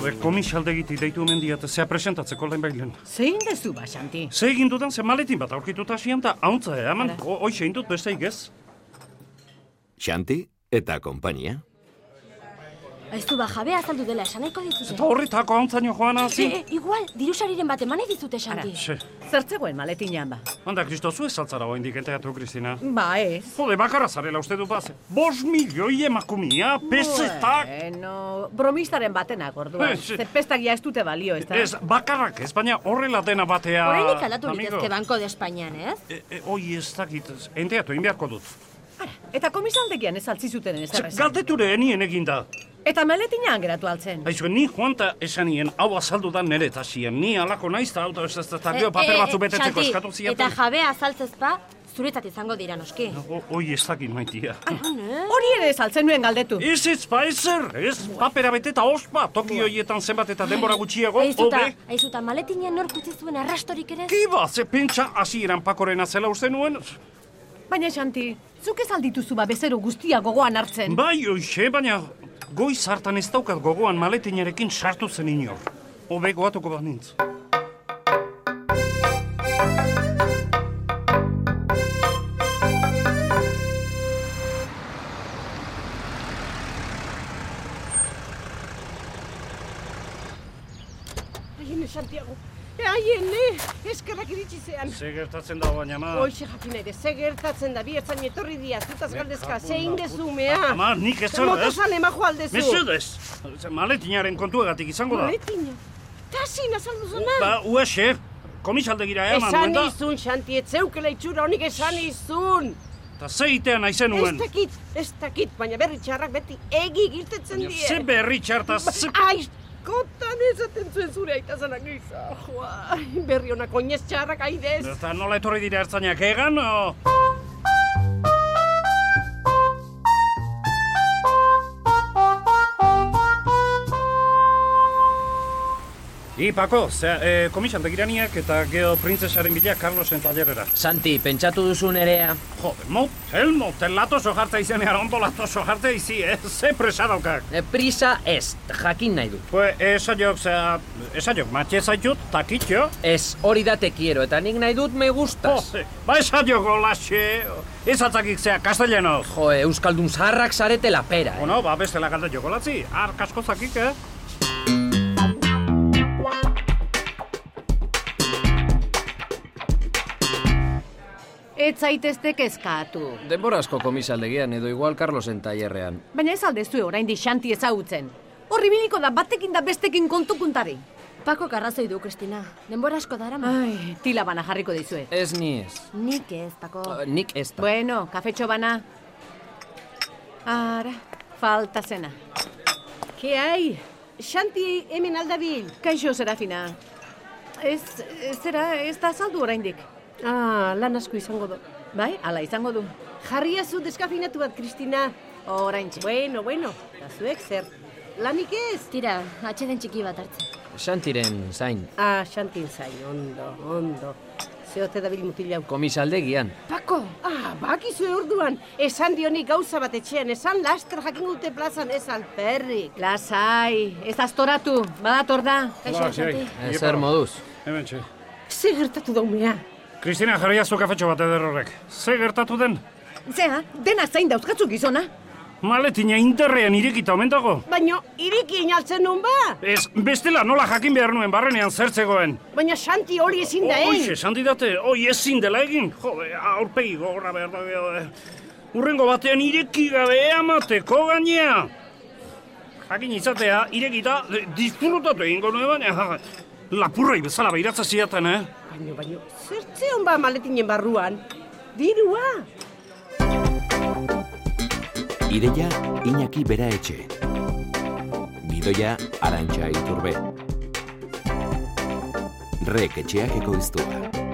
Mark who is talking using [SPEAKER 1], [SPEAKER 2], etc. [SPEAKER 1] komisaldegitik deitu omen diat zea presentatzeko lehen bailen.
[SPEAKER 2] Zein dezu basanti?
[SPEAKER 1] Ze egin dudan ze maletin bat aurkituta asian eta hauntza eman,
[SPEAKER 2] Ara.
[SPEAKER 1] hoxe indut beste igez.
[SPEAKER 3] Xanti eta konpainia.
[SPEAKER 4] Ez du ba jabea azaldu dela esaneko dizute.
[SPEAKER 1] Eta horretako hauntzaino joan
[SPEAKER 4] E,
[SPEAKER 1] hazi.
[SPEAKER 4] e, igual, dirusariren bat eman nahi dizute Xanti.
[SPEAKER 1] Ze,
[SPEAKER 2] Zertzegoen maletinean ba.
[SPEAKER 1] handa kristozu ez altzara hoen dikenteatu, Kristina.
[SPEAKER 2] Ba ez.
[SPEAKER 1] Jode, bakarra zarela uste du baz. Bos milioi emakumia, pesetak.
[SPEAKER 2] Bueno, bromistaren batenak orduan.
[SPEAKER 1] Ez, ez.
[SPEAKER 2] Ze pestagia ez dute balio, ez da?
[SPEAKER 1] Ez, bakarrak ez, baina horrela dena batea...
[SPEAKER 4] Horrenik aldatu
[SPEAKER 1] amigo.
[SPEAKER 4] litezke Banco de Espainian, ez?
[SPEAKER 1] E, e, oi ez dakit, ez, enteatu, egin beharko dut.
[SPEAKER 2] Eta komisaldegian ez altzizuten ez
[SPEAKER 1] Ze,
[SPEAKER 2] errezan.
[SPEAKER 1] Galdeture enien eginda.
[SPEAKER 2] Eta maletinean geratu altzen.
[SPEAKER 1] Aizue, ni joan ta esanien, hau azaldu da nere tasien. Ni alako naiz ta auta ez ez da gero paper batzu betetzeko
[SPEAKER 4] E, Eh, Xanti,
[SPEAKER 1] eskatu
[SPEAKER 4] Eta
[SPEAKER 1] ziaten.
[SPEAKER 4] jabea azaltzezpa, zuretzat izango dira noski. eh?
[SPEAKER 1] O, oi ez dakit maitia.
[SPEAKER 4] Ah.
[SPEAKER 2] Hori ere ez altzen nuen galdetu.
[SPEAKER 1] Ez ez ba ezer, ez papera beteta ospa, toki hoietan zenbat eta denbora gutxiago,
[SPEAKER 4] Aizuta,
[SPEAKER 1] hobe.
[SPEAKER 4] aizuta, maletinen nork utzi zuen arrastorik ere?
[SPEAKER 1] Kiba, ze pentsa hasieran pakorena zela uste nuen.
[SPEAKER 2] Baina, Xanti, zuk ez aldituzu ba bezero guztia gogoan hartzen.
[SPEAKER 1] Bai, oixe, baina goiz hartan ez daukat gogoan maletinarekin sartu zen inor. Hobe goatuko bat nintz. Ba-
[SPEAKER 5] Aiene, Santiago. Aiene, eskerrak iritsi zean.
[SPEAKER 1] Ze gertatzen da baina ma.
[SPEAKER 5] Hoxe jakin ere, ze gertatzen da, bi ertzain etorri dia, zutaz galdezka,
[SPEAKER 1] jakun da,
[SPEAKER 5] zein dezu,
[SPEAKER 1] puta.
[SPEAKER 5] mea.
[SPEAKER 1] Ama, nik ez
[SPEAKER 5] Ze
[SPEAKER 1] dut, ez?
[SPEAKER 5] motozale majo aldezu.
[SPEAKER 1] Mesedez, ze maletinaren kontuagatik izango da.
[SPEAKER 5] Boletina. Tasin, azaldu zona.
[SPEAKER 1] Ba, uexe, komisaldegira eman nuen
[SPEAKER 5] esan
[SPEAKER 1] da,
[SPEAKER 5] izun, Santi, etzeukela itxura honik esan izun.
[SPEAKER 1] eta ze itean aizen
[SPEAKER 5] Ez
[SPEAKER 1] nuen.
[SPEAKER 5] dakit, ez dakit, baina berri txarrak beti egi giltetzen die.
[SPEAKER 1] Ze berri txarta,
[SPEAKER 5] Ba,
[SPEAKER 1] ze...
[SPEAKER 5] ah. Aizkotan esaten zuen zure aitazanak giza, joa. Ai, Berri honako oinez txarrak aidez.
[SPEAKER 1] Eta nola etorri dira ertzainak egan, o... I, Pako, ze, e, komisaldegiraniak eta geo printzesaren bila Carlosen talerera.
[SPEAKER 6] Santi, pentsatu duzu nerea.
[SPEAKER 1] Jode, motel, motel, latoso jartza izenean ondo latoso jartza izi, eh? Ze presa daukak.
[SPEAKER 6] E, prisa ez, jakin nahi dut.
[SPEAKER 1] Pues, esaiok, zea, esaiok, matxe zaitut, takitxo.
[SPEAKER 6] Ez, hori da te quiero, eta nik nahi dut me gustas.
[SPEAKER 1] Jode, ba esaiok olaxe, ez atzakik zea, kastellanoz.
[SPEAKER 6] Jo, e, Euskaldun zaharrak zarete lapera, eh?
[SPEAKER 1] Bueno, ba, beste lagalda jokolatzi, har kasko zakik, eh?
[SPEAKER 2] Ez zaitezte kezkatu.
[SPEAKER 6] Denbora asko komisaldegian, edo igual Carlosen tailerrean.
[SPEAKER 2] Baina ez aldezue oraindik Xanti ezagutzen. Horri biliko da batekin da bestekin kontukuntari.
[SPEAKER 4] Pako karrazoi du, Kristina. Denbora asko dara,
[SPEAKER 1] Ah.
[SPEAKER 2] Ai, tila bana jarriko dizue.
[SPEAKER 6] Ez ni ez.
[SPEAKER 4] Nik ez, Pako.
[SPEAKER 6] Eh, Nik ez da.
[SPEAKER 2] Bueno, kafetxo bana. Ara, falta zena.
[SPEAKER 5] Ke hai, Xanti hemen aldabil.
[SPEAKER 2] Kaixo, Serafina. Ez, ez zera, ez da saldu oraindik.
[SPEAKER 5] Ah, lan asko izango do.
[SPEAKER 2] Bai, ala izango du.
[SPEAKER 5] Jarria zu deskafinatu bat, Kristina.
[SPEAKER 2] Oraintxe.
[SPEAKER 5] Bueno, bueno, eta zuek zer. Lanik ez?
[SPEAKER 4] Tira, atxeden txiki bat hartzen.
[SPEAKER 6] Santiren zain.
[SPEAKER 5] Ah, Xantin zain, ondo, ondo. Zeote da bil mutil hau.
[SPEAKER 6] Komisaldegian.
[SPEAKER 4] Pako!
[SPEAKER 5] Ah, bakizu orduan, esan dionik gauza bat etxean, esan laster jakin dute plazan, ez alperrik.
[SPEAKER 2] Lasai, ez astoratu, badator da.
[SPEAKER 4] Kaixo, Xanti.
[SPEAKER 6] Ez er moduz.
[SPEAKER 1] Hemen txe.
[SPEAKER 5] Ze gertatu daumea?
[SPEAKER 1] Kristina, jarri azu kafetxo bat ederrorek. Ze gertatu den?
[SPEAKER 2] Zea, dena zain dauzkatzu gizona.
[SPEAKER 1] Maletina interrean irekita omen dago.
[SPEAKER 5] Baino, iriki inaltzen nun ba!
[SPEAKER 1] Ez, bestela nola jakin behar nuen barrenean zertzegoen.
[SPEAKER 5] Baina Xanti hori ezin da,
[SPEAKER 1] Oixe,
[SPEAKER 5] eh?
[SPEAKER 1] esan didate, oi ezin dela egin. Jode, aurpegi gogorra behar da gero, eh. Urrengo batean ireki gabe emateko gainea. Jakin izatea, irekita, eh, disfrutatu egingo nuen baina. ja, Lapurrei bezala beiratza zidaten, eh?
[SPEAKER 5] Baino, baino, zertze hon ba maletinen barruan? Dirua!
[SPEAKER 3] Ideia Iñaki Bera Etxe. Gidoia Arantxa Iturbe. Rek etxeak ekoiztua.